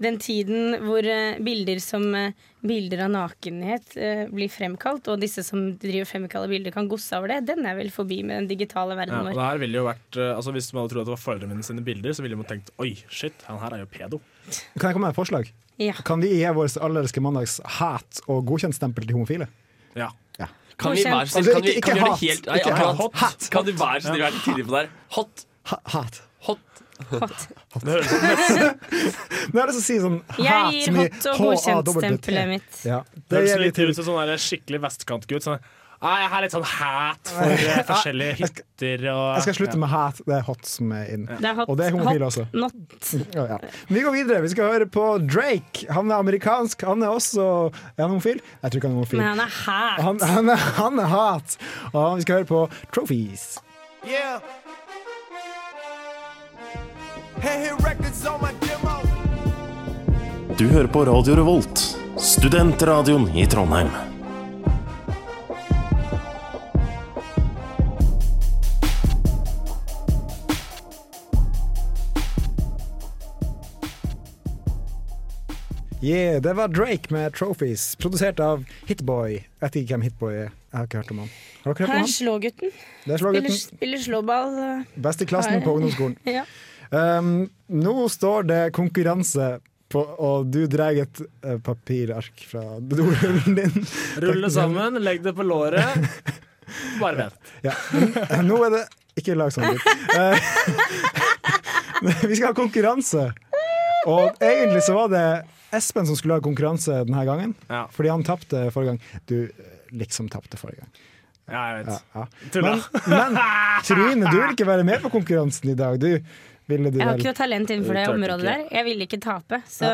Speaker 7: den tiden hvor eh, bilder som eh, Bilder av nakenhet eh, blir fremkalt, og disse som driver fremkaller bilder, kan gosse over det. Den er vel forbi med den digitale
Speaker 6: Ja,
Speaker 7: verdenen
Speaker 6: og det
Speaker 7: vår.
Speaker 6: her ville jo vært, eh, altså Hvis man hadde trodd at det var foreldrene mine sine bilder, så ville man tenkt oi, shit, han her er jo pedo.
Speaker 2: Kan jeg komme med et forslag?
Speaker 7: Ja.
Speaker 2: Kan vi gi vår allerske mandags hat og godkjentstempel til homofile?
Speaker 6: Ja.
Speaker 11: Kan vi være så snill,
Speaker 2: Altså,
Speaker 11: kan vi,
Speaker 2: ikke-
Speaker 11: kan vi gjøre
Speaker 2: ikke
Speaker 11: det
Speaker 2: hat.
Speaker 11: helt nei,
Speaker 2: Ikke
Speaker 11: akkurat,
Speaker 2: hat.
Speaker 11: hot. Kan du være så snill, være litt tidlig på det her? Hot.
Speaker 2: Hat.
Speaker 11: Hot.
Speaker 6: Det høres ut som
Speaker 2: Nå er det så å si sånn
Speaker 7: Jeg
Speaker 2: hat
Speaker 7: gir
Speaker 2: som i
Speaker 7: hot og
Speaker 2: H-A-W-T.
Speaker 7: godkjentstempelet mitt.
Speaker 2: Ja,
Speaker 6: Det
Speaker 2: det
Speaker 6: høres
Speaker 2: gir vi
Speaker 6: litt
Speaker 2: til
Speaker 6: ut som sånn der skikkelig vestkantgutt. Sånn, «Nei, jeg har litt sånn hat for eh, forskjellige hytter og
Speaker 2: Jeg skal slutte med hat. Det er hot som er inn.
Speaker 7: Det er hot,
Speaker 2: Og det er homofile
Speaker 7: hot,
Speaker 2: også.
Speaker 7: Not.
Speaker 2: Ja, ja. Men Vi går videre. Vi skal høre på Drake. Han er amerikansk. Han er også Er han homofil? Jeg tror ikke han er homofil.
Speaker 7: Men han er her.
Speaker 2: Han, han, er, han er hat. Og vi skal høre på Trophies.
Speaker 12: Yeah. Hey, hey, records on my demo.
Speaker 13: Du hører på Radio Revolt, studentradioen i Trondheim.
Speaker 2: Yeah, det var Drake med Trophies, produsert av Hitboy. Jeg vet ikke hvem Hitboy er. Jeg har ikke hørt om han. Har dere hørt
Speaker 7: Han
Speaker 2: om
Speaker 7: er
Speaker 2: han?
Speaker 7: slågutten.
Speaker 2: Det er
Speaker 7: Spiller,
Speaker 2: slågutten.
Speaker 7: spiller slåball. eh,
Speaker 2: Best i klassen på ungdomsskolen.
Speaker 7: Ja.
Speaker 2: Um, nå står det konkurranse på, og du drar et eh, papirark fra dorullen din.
Speaker 6: Rulle sammen, legg det på låret. Bare vent.
Speaker 2: Ja. men Eh, Nå er det Ikke lag sånn lyd. Eh, vi skal ha konkurranse. Og egentlig så var det Espen som skulle ha konkurranse denne gangen, fordi han tapte forrige gang. Du eh, liksom tapte forrige gang.
Speaker 6: Ja, jeg vet.
Speaker 2: Ja.
Speaker 6: Tulla.
Speaker 2: Men, men Trine, du vil ikke være med på konkurransen i dag. Du, ville du
Speaker 7: Jeg har
Speaker 2: vel?
Speaker 7: ikke noe talent innenfor det
Speaker 2: Du tørte
Speaker 7: området der.
Speaker 2: ikke.
Speaker 7: Jeg ville ikke tape, så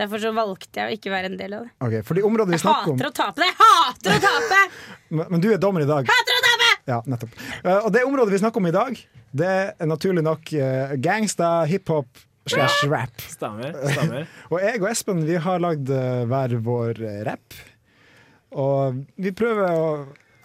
Speaker 7: derfor så valgte jeg å ikke være en del av det.
Speaker 2: Ok, for de områdene vi
Speaker 7: Jeg
Speaker 2: snakker om
Speaker 7: hater å tape det! Jeg hater å tape!
Speaker 2: Men men du er dommer i dag.
Speaker 7: Hater å tape!
Speaker 2: Ja, nettopp. Eh, og det området vi snakker om i dag, det er naturlig nok uh, gangsta, hiphop slash
Speaker 6: Ja.
Speaker 2: rap.
Speaker 6: Stemmer. stemmer.
Speaker 2: Og jeg og Espen vi har lagd eh, hver vår eh, rap. Og vi prøver å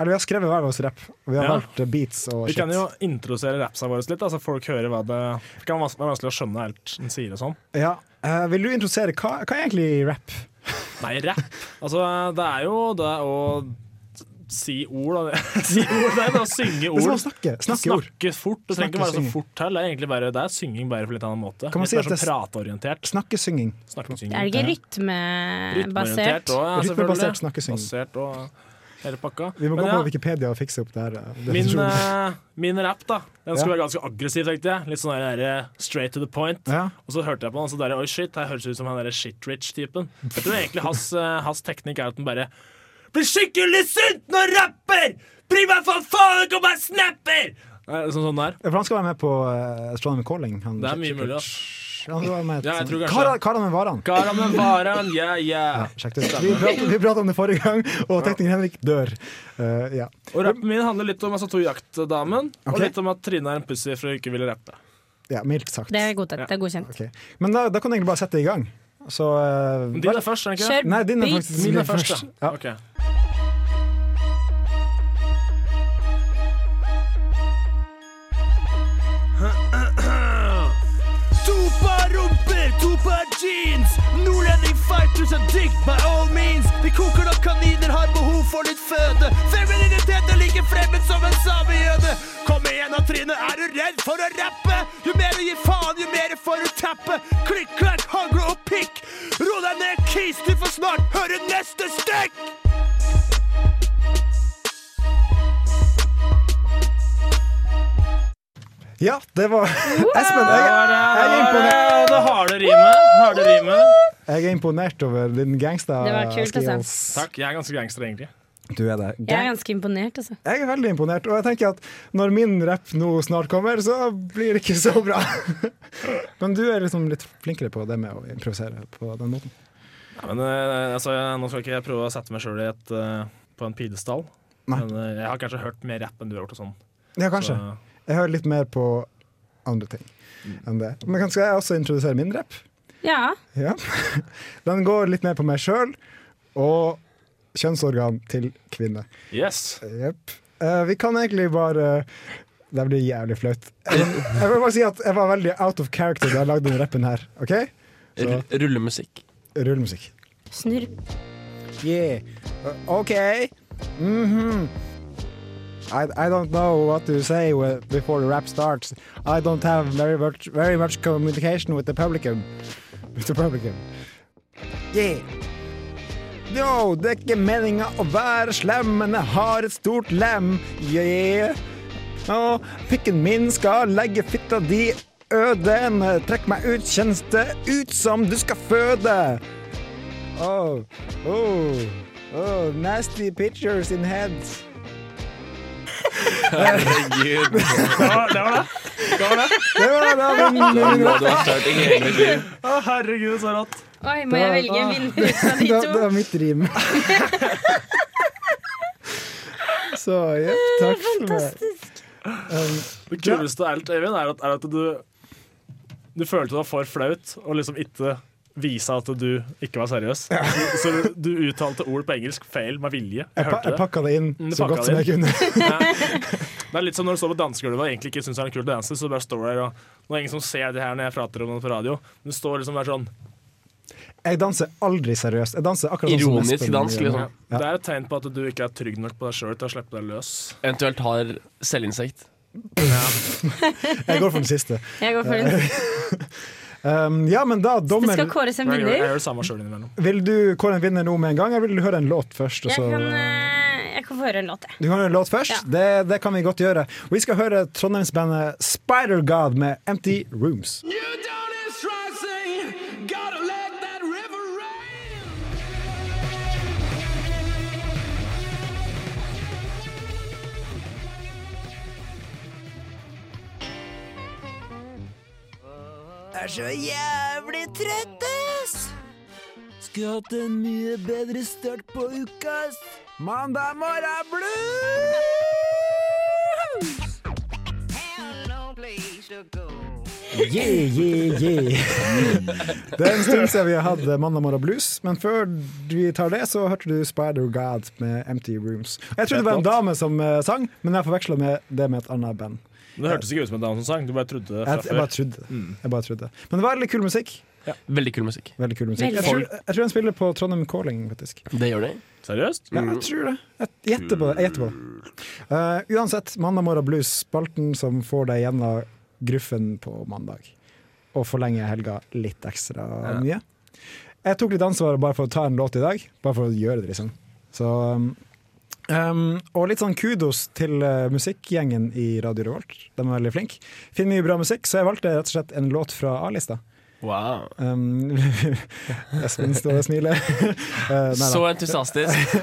Speaker 2: Eller vi har skrevet hver vår rap. Og vi har
Speaker 6: Ja.
Speaker 2: valgt eh, beats og
Speaker 6: Vi
Speaker 2: shit.
Speaker 6: kan jo introdusere rapsa våre litt, da, så folk hører hva det Det kan være vanskelig å skjønne helt den sier og sånn.
Speaker 2: Ja. eh, vil du introdusere hva, hva er egentlig rap?
Speaker 6: Nei, rapp. Altså, det er jo det å si ord, da. Si ord, det er det å synge ord.
Speaker 2: Det er som å snakke. Snakke ord.
Speaker 6: Snakke fort. Det trenger
Speaker 2: Snakke,
Speaker 6: ikke være så
Speaker 2: synge.
Speaker 6: fort heller. Det er egentlig bare det er synging bare på litt annen måte.
Speaker 2: Kan man
Speaker 6: litt
Speaker 2: si at
Speaker 6: mer sånn
Speaker 2: det er
Speaker 6: prateorientert.
Speaker 2: Snakkesynging.
Speaker 6: Snakkesynging.
Speaker 7: Er det ikke
Speaker 6: Ja.
Speaker 7: rytmebasert?
Speaker 6: Rytmeorientert også, ja, selvfølgelig.
Speaker 2: Rytmebasert snakkesynging.
Speaker 6: Basert og hele pakka.
Speaker 2: Vi må
Speaker 6: Men
Speaker 2: gå
Speaker 6: ja,
Speaker 2: på Wikipedia og fikse opp det her. eh,
Speaker 6: Min,
Speaker 2: definisjonen.
Speaker 6: eh, min rap da Den skulle
Speaker 2: Ja.
Speaker 6: være ganske aggressiv, tenkte jeg. Litt sånn der, eh, straight to the point. Og så hørte jeg på han, og så der, oi shit, her høres det ut som han der shit-rich-typen. Jeg tror egentlig hans, eh, hans teknikk er at den bare blir skikkelig sint når jeg rapper! Bry meg for faen ikke om jeg snapper! Eh, Sånn, sånn der.
Speaker 2: Ja, for han skal være med på uh, Astronomy Calling. Han,
Speaker 6: Det er mye mulig, ass.
Speaker 2: Han skal være med
Speaker 6: Ja, jeg tror kanskje
Speaker 2: Hva har han med varene?
Speaker 6: Kara med varan, yeah, yeah.
Speaker 2: Sjekk det ut. Vi pratet, vi pratet om det forrige gang, og tekniker Henrik dør. Eh, ja.
Speaker 6: Og rappen min handler litt om altså, to jaktdamen,
Speaker 2: Ok.
Speaker 6: og litt om at Trine er en pussy for hun ikke ville rappe.
Speaker 2: ja, mildt sagt.
Speaker 7: Det er godtatt. Det er godkjent.
Speaker 2: Ok. Men da, da kan du egentlig bare sette i gang. Så eh,
Speaker 6: Men
Speaker 2: bare-
Speaker 6: Din er først, er den ikke det?
Speaker 2: Kjør Nei, din er beat. faktisk
Speaker 6: Min
Speaker 2: min
Speaker 6: er først,
Speaker 2: først.
Speaker 6: ja.
Speaker 2: Ja.
Speaker 6: Ok.
Speaker 14: par rumper, to par jeans. Nordlending fighters are dick by all means. Vi koker opp kaniner, har behov for litt føde. Femininitet er like fremmed som en samejøde. Kom igjen da, Trine, er du redd for å rappe? Jo mer du gir faen, jo mer får du tappe. Klikk, klakk, hagle og pikk. Ro deg ned, kis, du får snart høre neste stikk.
Speaker 2: Ja, det var Espen, jeg, jeg er
Speaker 6: Og
Speaker 2: imponert.
Speaker 6: det harde rimet. Harde rimet.
Speaker 2: Jeg er imponert over din gangster.
Speaker 7: Det var kult, altså.
Speaker 2: skills.
Speaker 6: eh, Takk. Jeg er ganske gangster, egentlig.
Speaker 2: Du er det.
Speaker 7: Jeg er ganske imponert, altså.
Speaker 2: Jeg er veldig imponert, og jeg tenker at når min rapp nå snart kommer, så blir det ikke så bra. Men du er liksom litt flinkere på det med å improvisere på den måten.
Speaker 6: Ja, men, eh, altså, nå skal ikke jeg prøve å sette meg sjøl eh, på en pidestall.
Speaker 2: Nei.
Speaker 6: Men eh, jeg har kanskje hørt mer rapp enn du har gjort. og sånn.
Speaker 2: Ja, kanskje.
Speaker 6: Så-
Speaker 2: Jeg hører litt mer på andre ting enn det. Men kanskje jeg også introdusere min rapp?
Speaker 7: Ja.
Speaker 2: Ja. Den går litt mer på meg sjøl og kjønnsorgan til kvinne.
Speaker 6: Yes.
Speaker 2: Jepp. Eh, vi kan egentlig bare Det blir jævlig flaut. Jeg jeg vil bare si at jeg var veldig out of character da jeg lagde den rappen her. OK? Så
Speaker 11: R- Rullemusikk.
Speaker 2: rullemusikk.
Speaker 7: Snurp.
Speaker 2: Yeah. Uh, OK. Mhm. I, I don't know what to say whe- before the rap starts. I don't have very much, very much communication with the publicum. With the publicum. Yeah. Yo, det er ikke meninga å være slem, men jeg har et stort lem. Yeah. Og pikken min skal legge fitta di øde. Trekk meg ut, kjennes det ut som du skal føde. Oh, oh, oh, nasty pictures in heads.
Speaker 11: Herregud.
Speaker 6: Det var det. Det var det.
Speaker 2: Det var da min, min
Speaker 11: må du ha hørt i hele mitt liv.
Speaker 6: Å, herregud, så rått.
Speaker 7: Oi, må jeg velge en vinner ut av de
Speaker 2: Det,
Speaker 7: to?
Speaker 2: det var mitt rim. Så jepp, takk for meg. Um,
Speaker 6: Det kuleste av alt, Øyvind, er at, er at du Du følte det var for flaut å liksom ikke vise at du ikke var seriøs. Så, så du uttalte ord på engelsk feil med vilje.
Speaker 2: jeg, pa jeg pakka det inn
Speaker 6: Du
Speaker 2: så
Speaker 6: pakka
Speaker 2: godt som
Speaker 6: det
Speaker 2: jeg
Speaker 6: inn.
Speaker 2: kunne.
Speaker 6: Det er litt som når du står på dansegulvet og egentlig ikke syns det er en kul danser, så du bare står der og Nå er det ingen som ser det her når jeg prater om det på radio. Men du står liksom og er sånn
Speaker 2: Jeg danser aldri seriøst. Jeg danser akkurat sånn som Espen gjør.
Speaker 6: Ja. Det er et tegn på at du ikke er trygg nok på deg sjøl til å slippe deg løs.
Speaker 11: Eventuelt har selvinsekt.
Speaker 2: Jeg går for den siste.
Speaker 7: Jeg går for den
Speaker 2: Eh, um, ja, men da,
Speaker 7: Det
Speaker 2: dommer
Speaker 7: skal kåres en
Speaker 6: Jeg gjør, jeg
Speaker 7: vinner.
Speaker 6: gjør det samme sjøl innimellom.
Speaker 2: Vil du kåre en vinner nå med en gang, eller vil du høre en låt først? Og
Speaker 7: Jeg
Speaker 2: så,
Speaker 7: kan, eh, jeg kan få høre en låt, jeg.
Speaker 2: Du kan høre en låt først? Det, det kan vi godt gjøre. Vi skal høre trondheimsbandet Spider God med Empty Rooms.
Speaker 15: Er så jævlig trøtt, ass! Skulle hatt en mye bedre start på uka, ass. Mandag morgen blues!
Speaker 2: Yeah, yeah, yeah. Det er en stund siden vi har hatt eh, Mandag morgen blues, men før vi tar det, så hørte du Spider God med Empty Rooms. Jeg trodde det var en dame som eh, sang, men jeg forveksla med det med et annet band.
Speaker 6: Men Det hørtes ikke ut som en dame som sang, du bare trodde det fra
Speaker 2: Jeg, jeg, bare
Speaker 6: før. Mm.
Speaker 2: trodde. jeg bare trodde. Men det var veldig kul musikk.
Speaker 11: Veldig kul musikk.
Speaker 2: Veldig kul musikk. Jeg tror, jeg tror han spiller på Trondheim Calling, faktisk.
Speaker 11: Det Mm. gjør de.
Speaker 6: Seriøst?
Speaker 2: Ja, jeg tror det. Jeg gjetter på det. Jeg gjetter på det. Eh, uansett, Mandag morgen blues, spalten som får deg gjennom gruffen på mandag. Og forlenger helga litt ekstra mye. Jeg tok litt ansvar bare for å ta en låt i dag. Bare for å gjøre det, liksom. Så, um, um, og litt sånn kudos til eh, musikkgjengen i Radio Revolt. De er veldig flinke. Finner mye bra musikk, så jeg valgte rett og slett en låt fra A-lista.
Speaker 11: Wow.
Speaker 2: Um, Espen står og smiler. Eh, nei da.
Speaker 11: Så entusiastisk.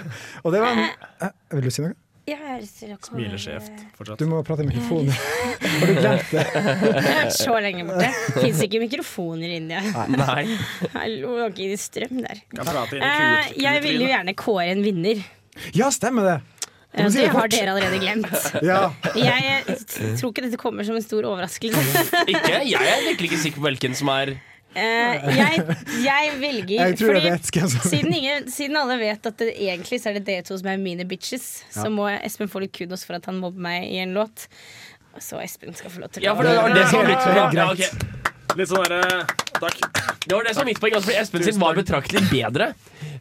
Speaker 2: Og det var en Hæ? Vil du si noe?
Speaker 7: Jeg er så kåre-
Speaker 2: Du må prate i mikrofonen. Har du glemt det?
Speaker 7: Jeg har vært så lenge borte. Fins ikke mikrofoner i India.
Speaker 11: Nei.
Speaker 7: Hallo, det var ikke strøm der.
Speaker 6: Kan prate inn i
Speaker 7: Eh,
Speaker 6: kule-
Speaker 7: jeg ville jo gjerne kåre en vinner.
Speaker 2: Ja, stemmer det! Du må
Speaker 7: Eh,
Speaker 2: si
Speaker 7: Det
Speaker 2: det
Speaker 7: har
Speaker 2: fort.
Speaker 7: dere allerede glemt.
Speaker 2: Ja.
Speaker 7: Jeg t- tror ikke dette kommer som en stor overraskelse.
Speaker 11: Ikke? Jeg er virkelig ikke sikker på hvilken som er
Speaker 7: Eh, jeg, jeg velger
Speaker 11: Jeg tror jeg
Speaker 7: fordi
Speaker 11: vet hvem som-
Speaker 7: siden, ingen, siden alle vet at det egentlig så er det dere to som er mine bitches,
Speaker 11: Ja.
Speaker 7: så må Espen få litt kudos for at han mobber meg i en låt. Så Espen skal få lov til
Speaker 11: Ja, for det var det som var
Speaker 7: Ja,
Speaker 11: litt
Speaker 7: ja, ja.
Speaker 11: Ja, ok.
Speaker 6: Litt sånn derre Takk.
Speaker 11: Det var det som var mitt poeng. Altså, fordi Espen sin var betraktelig bedre.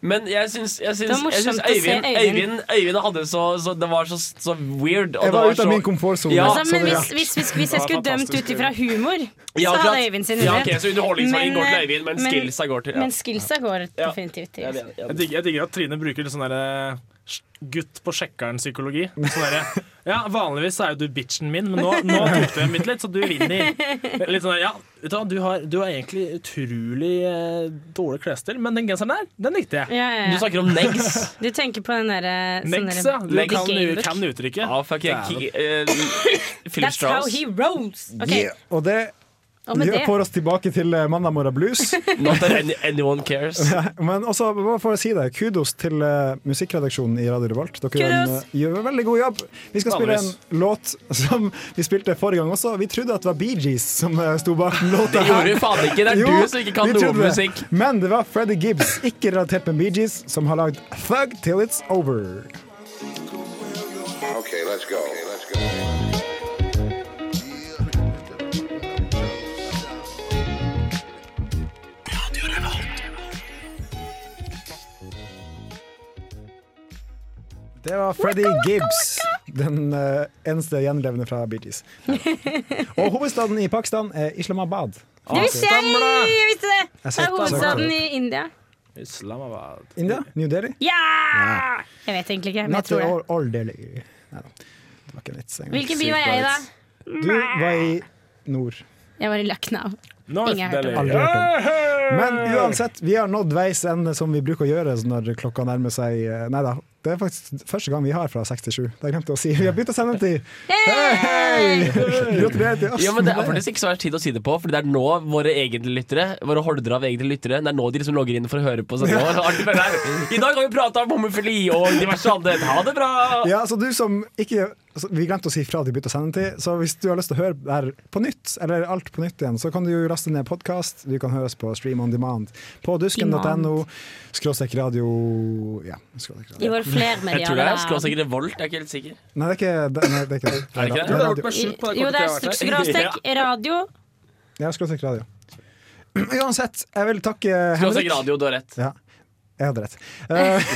Speaker 11: Men jeg syns, jeg
Speaker 6: Det
Speaker 11: syns,
Speaker 6: var
Speaker 11: jeg syns
Speaker 6: morsomt å se
Speaker 11: Øyvind, Øyvind,
Speaker 6: Øyvind.
Speaker 11: Øyvind hadde så, så Det var så, så weird. og
Speaker 2: Jeg
Speaker 11: det
Speaker 2: var ute av
Speaker 11: så-
Speaker 2: min komfortsone.
Speaker 11: Ja.
Speaker 7: altså, men hvis, hvis, hvis, hvis jeg skulle dømt ut ifra humor, så hadde
Speaker 11: akkurat.
Speaker 7: Øyvind sin
Speaker 11: ja,
Speaker 7: mulighet.
Speaker 11: ok, Så underholdningsverdien går til Øyvind, men,
Speaker 7: men-
Speaker 11: skillsa går til ja.
Speaker 7: Men skillsa går definitivt til
Speaker 6: Jeg digger, jeg digger at Trine bruker litt sånn derre gutt på sjekkeren-psykologi. Sånn derre, ja, vanligvis er jo du bitchen min, men nå, nå tok du mitt litt, så du vinner. Litt sånn der, ja, vet du, hva, du, har, du har egentlig utrolig eh, dårlig klesstil, men den genseren der, den likte jeg.
Speaker 7: Ja, ja, ja. Du snakker
Speaker 11: om
Speaker 7: Du tenker på den derre sånn
Speaker 6: Negs, ja.
Speaker 7: derre-
Speaker 6: Du
Speaker 7: The
Speaker 6: kan,
Speaker 7: Gamebook.
Speaker 6: kan uttrykket.
Speaker 11: Ja, fuck, jeg, ki- eh, Philip
Speaker 7: That's how
Speaker 11: Strauss.
Speaker 7: he rolls. Ok,
Speaker 2: Yeah. Og det
Speaker 7: Og med
Speaker 2: gjør-
Speaker 7: det-
Speaker 2: får oss tilbake til eh, mandag morgen blues.
Speaker 11: Not that any, anyone cares.
Speaker 2: Ja, Men også, bare for å si det, kudos til eh, musikkredaksjonen i Radio Revolt. Dere gjør en,
Speaker 11: Kudos!
Speaker 2: eh, gjør en veldig god jobb. Vi skal spille en låt som vi spilte forrige gang også. Vi trodde at det var Bee Gees som eh, sto bak den låta.
Speaker 11: Det
Speaker 2: her.
Speaker 11: gjorde vi faen ikke. Det er
Speaker 2: Jo,
Speaker 11: du som ikke kan
Speaker 2: vi
Speaker 11: noe
Speaker 2: trodde det.
Speaker 11: musikk.
Speaker 2: Men det var Freddy Gibbs, ikke relatert med Bee Gees, som har lagd Thug Till It's Over.
Speaker 16: Okay, let's go. let's go.
Speaker 2: Det var Freddy Gibbs, den eh, eneste gjenlevende fra Bee Gees. Og hovedstaden i Pakistan er Islamabad.
Speaker 7: Det visste jeg! Jeg visste det!
Speaker 2: Jeg
Speaker 7: Det
Speaker 2: setter
Speaker 7: er
Speaker 2: den.
Speaker 7: hovedstaden i India.
Speaker 6: Islamabad.
Speaker 2: India? New Delhi?
Speaker 7: Ja!
Speaker 2: Ja.
Speaker 7: Jeg vet egentlig ikke, men jeg
Speaker 2: Not
Speaker 7: tror det.
Speaker 2: all, all Delhi. Nei da. Det var ikke en vits. engang.
Speaker 7: Hvilken by var jeg i, da?
Speaker 2: Du var i nord.
Speaker 7: Jeg var i Lucknow.
Speaker 6: North
Speaker 7: Ingen har hørt om
Speaker 2: Aldri
Speaker 7: det.
Speaker 2: hørt om. Men uansett, vi har nådd veis ende, som vi bruker å gjøre når klokka nærmer seg eh, Nei da, det er faktisk første gang vi har fra 6 til 7. Det har jeg glemt å si. Vi har begynt å sende til Hei! Gratulerer til oss.
Speaker 11: Ja, men Det er
Speaker 2: med det.
Speaker 11: faktisk ikke så verst tid å si det på, Fordi det er nå våre egentlige lyttere Våre holder av egentlige lyttere Det er nå de liksom logger inn for å høre på. Sånn, «Å, artig med deg. I dag har vi prata om homofili og diverse annet. Ha det bra!
Speaker 2: Ja, så du som ikke så Vi glemte å si fra at de bytta sendetid, så hvis du har lyst til å høre det her på nytt, eller alt på nytt igjen, så kan du jo laste ned podkast. Du kan høres på Stream on Demand på dusken.no. Skråstrek radio Ja. Skråstrek radio.
Speaker 7: I vår flermediale
Speaker 11: Jeg tror det er skråstrek revolt. Jeg er ikke helt sikker.
Speaker 2: Nei, det er ikke det. Nei, det er ikke det.
Speaker 11: Er det ikke det?
Speaker 2: radio.
Speaker 7: Jo, det er skråstrek radio.
Speaker 2: Ja, skråstrek radio. Uansett, jeg vil takke
Speaker 11: Skråstrek
Speaker 2: Henrik.
Speaker 11: radio, du har rett.
Speaker 2: Ja. Jeg hadde rett. Eh,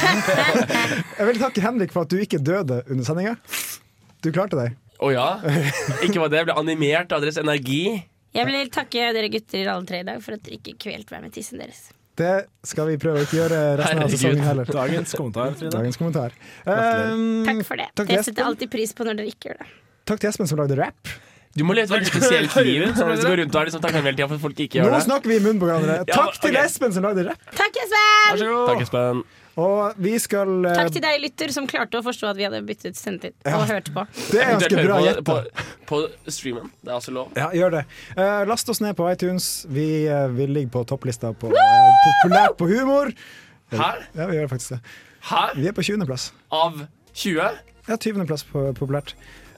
Speaker 2: jeg vil takke Henrik for at du ikke døde under sendinga. Du klarte deg.
Speaker 11: Å ja? Ikke var det. Jeg ble animert av deres energi.
Speaker 7: Jeg vil takke dere gutter alle tre i dag for at dere ikke kvelte meg med tissen deres.
Speaker 2: Det skal vi prøve å ikke gjøre resten av
Speaker 6: Herregud.
Speaker 2: sesongen heller.
Speaker 6: Dagens kommentar, Frida.
Speaker 2: Dagens kommentar. Ehm,
Speaker 7: Takk for det.
Speaker 2: Mm, takk til
Speaker 7: Jeg setter
Speaker 2: Espen.
Speaker 7: alltid pris på når dere ikke gjør det.
Speaker 2: Takk til Espen som lagde rap.
Speaker 11: Du må leve et veldig spesielt liv. Som hvis du går rundt og er liksom takknemlig hele tida for at folk ikke gjør
Speaker 2: Nå
Speaker 11: det.
Speaker 2: snakker vi i munnen på hverandre.
Speaker 11: Ja,
Speaker 2: Takk til
Speaker 11: ok.
Speaker 2: Espen som lagde rap.
Speaker 7: Takk, Espen!
Speaker 11: Takk, Espen.
Speaker 2: Og vi skal eh,
Speaker 7: Takk til deg, lytter, som klarte å forstå at vi hadde byttet sendetid og hørte på.
Speaker 2: Det er ganske bra
Speaker 11: Eventuelt
Speaker 2: gjetta.
Speaker 11: høre På, på, på streamen. Det er altså lov.
Speaker 2: Ja, gjør det. Eh, last oss ned på iTunes. Vi eh, vi ligger på topplista på eh, populært på humor.
Speaker 11: Hæ?
Speaker 2: Ja, vi gjør faktisk det.
Speaker 11: Hæ?
Speaker 2: Vi er på 20.-plass.
Speaker 11: Av 20?
Speaker 2: Ja, 20.-plass på populært.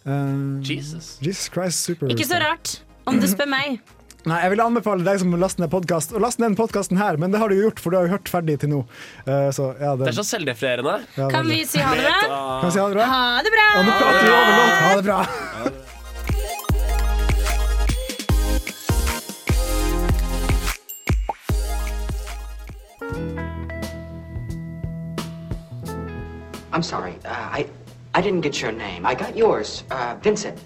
Speaker 2: Eh,
Speaker 11: Jesus.
Speaker 2: Christ Super.
Speaker 7: Ikke så rart, om du spør meg.
Speaker 2: Nei, jeg vil anbefale deg som laster ned podkast, å laste ned den podkasten her, men det har du jo gjort, for du har jo hørt ferdig til nå. Eh, så, ja,
Speaker 11: Det
Speaker 2: det,
Speaker 11: er så selvdefinerende.
Speaker 2: Ja,
Speaker 7: Kan vi si ha det bra?
Speaker 2: Kan vi si ha det bra?
Speaker 7: Ha det bra!
Speaker 2: Og nå prater vi over låt. Ha det bra.
Speaker 17: I'm sorry. Uh, I I didn't get your name. I got yours, uh, Vincent,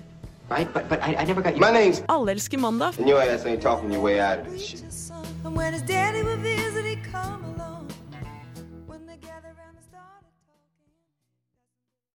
Speaker 17: right? But but I, I never got your.
Speaker 16: My name's-
Speaker 17: Alle elsker mandag.
Speaker 16: And your ass ain't talking your way out of this shit.
Speaker 18: And when his daddy reveals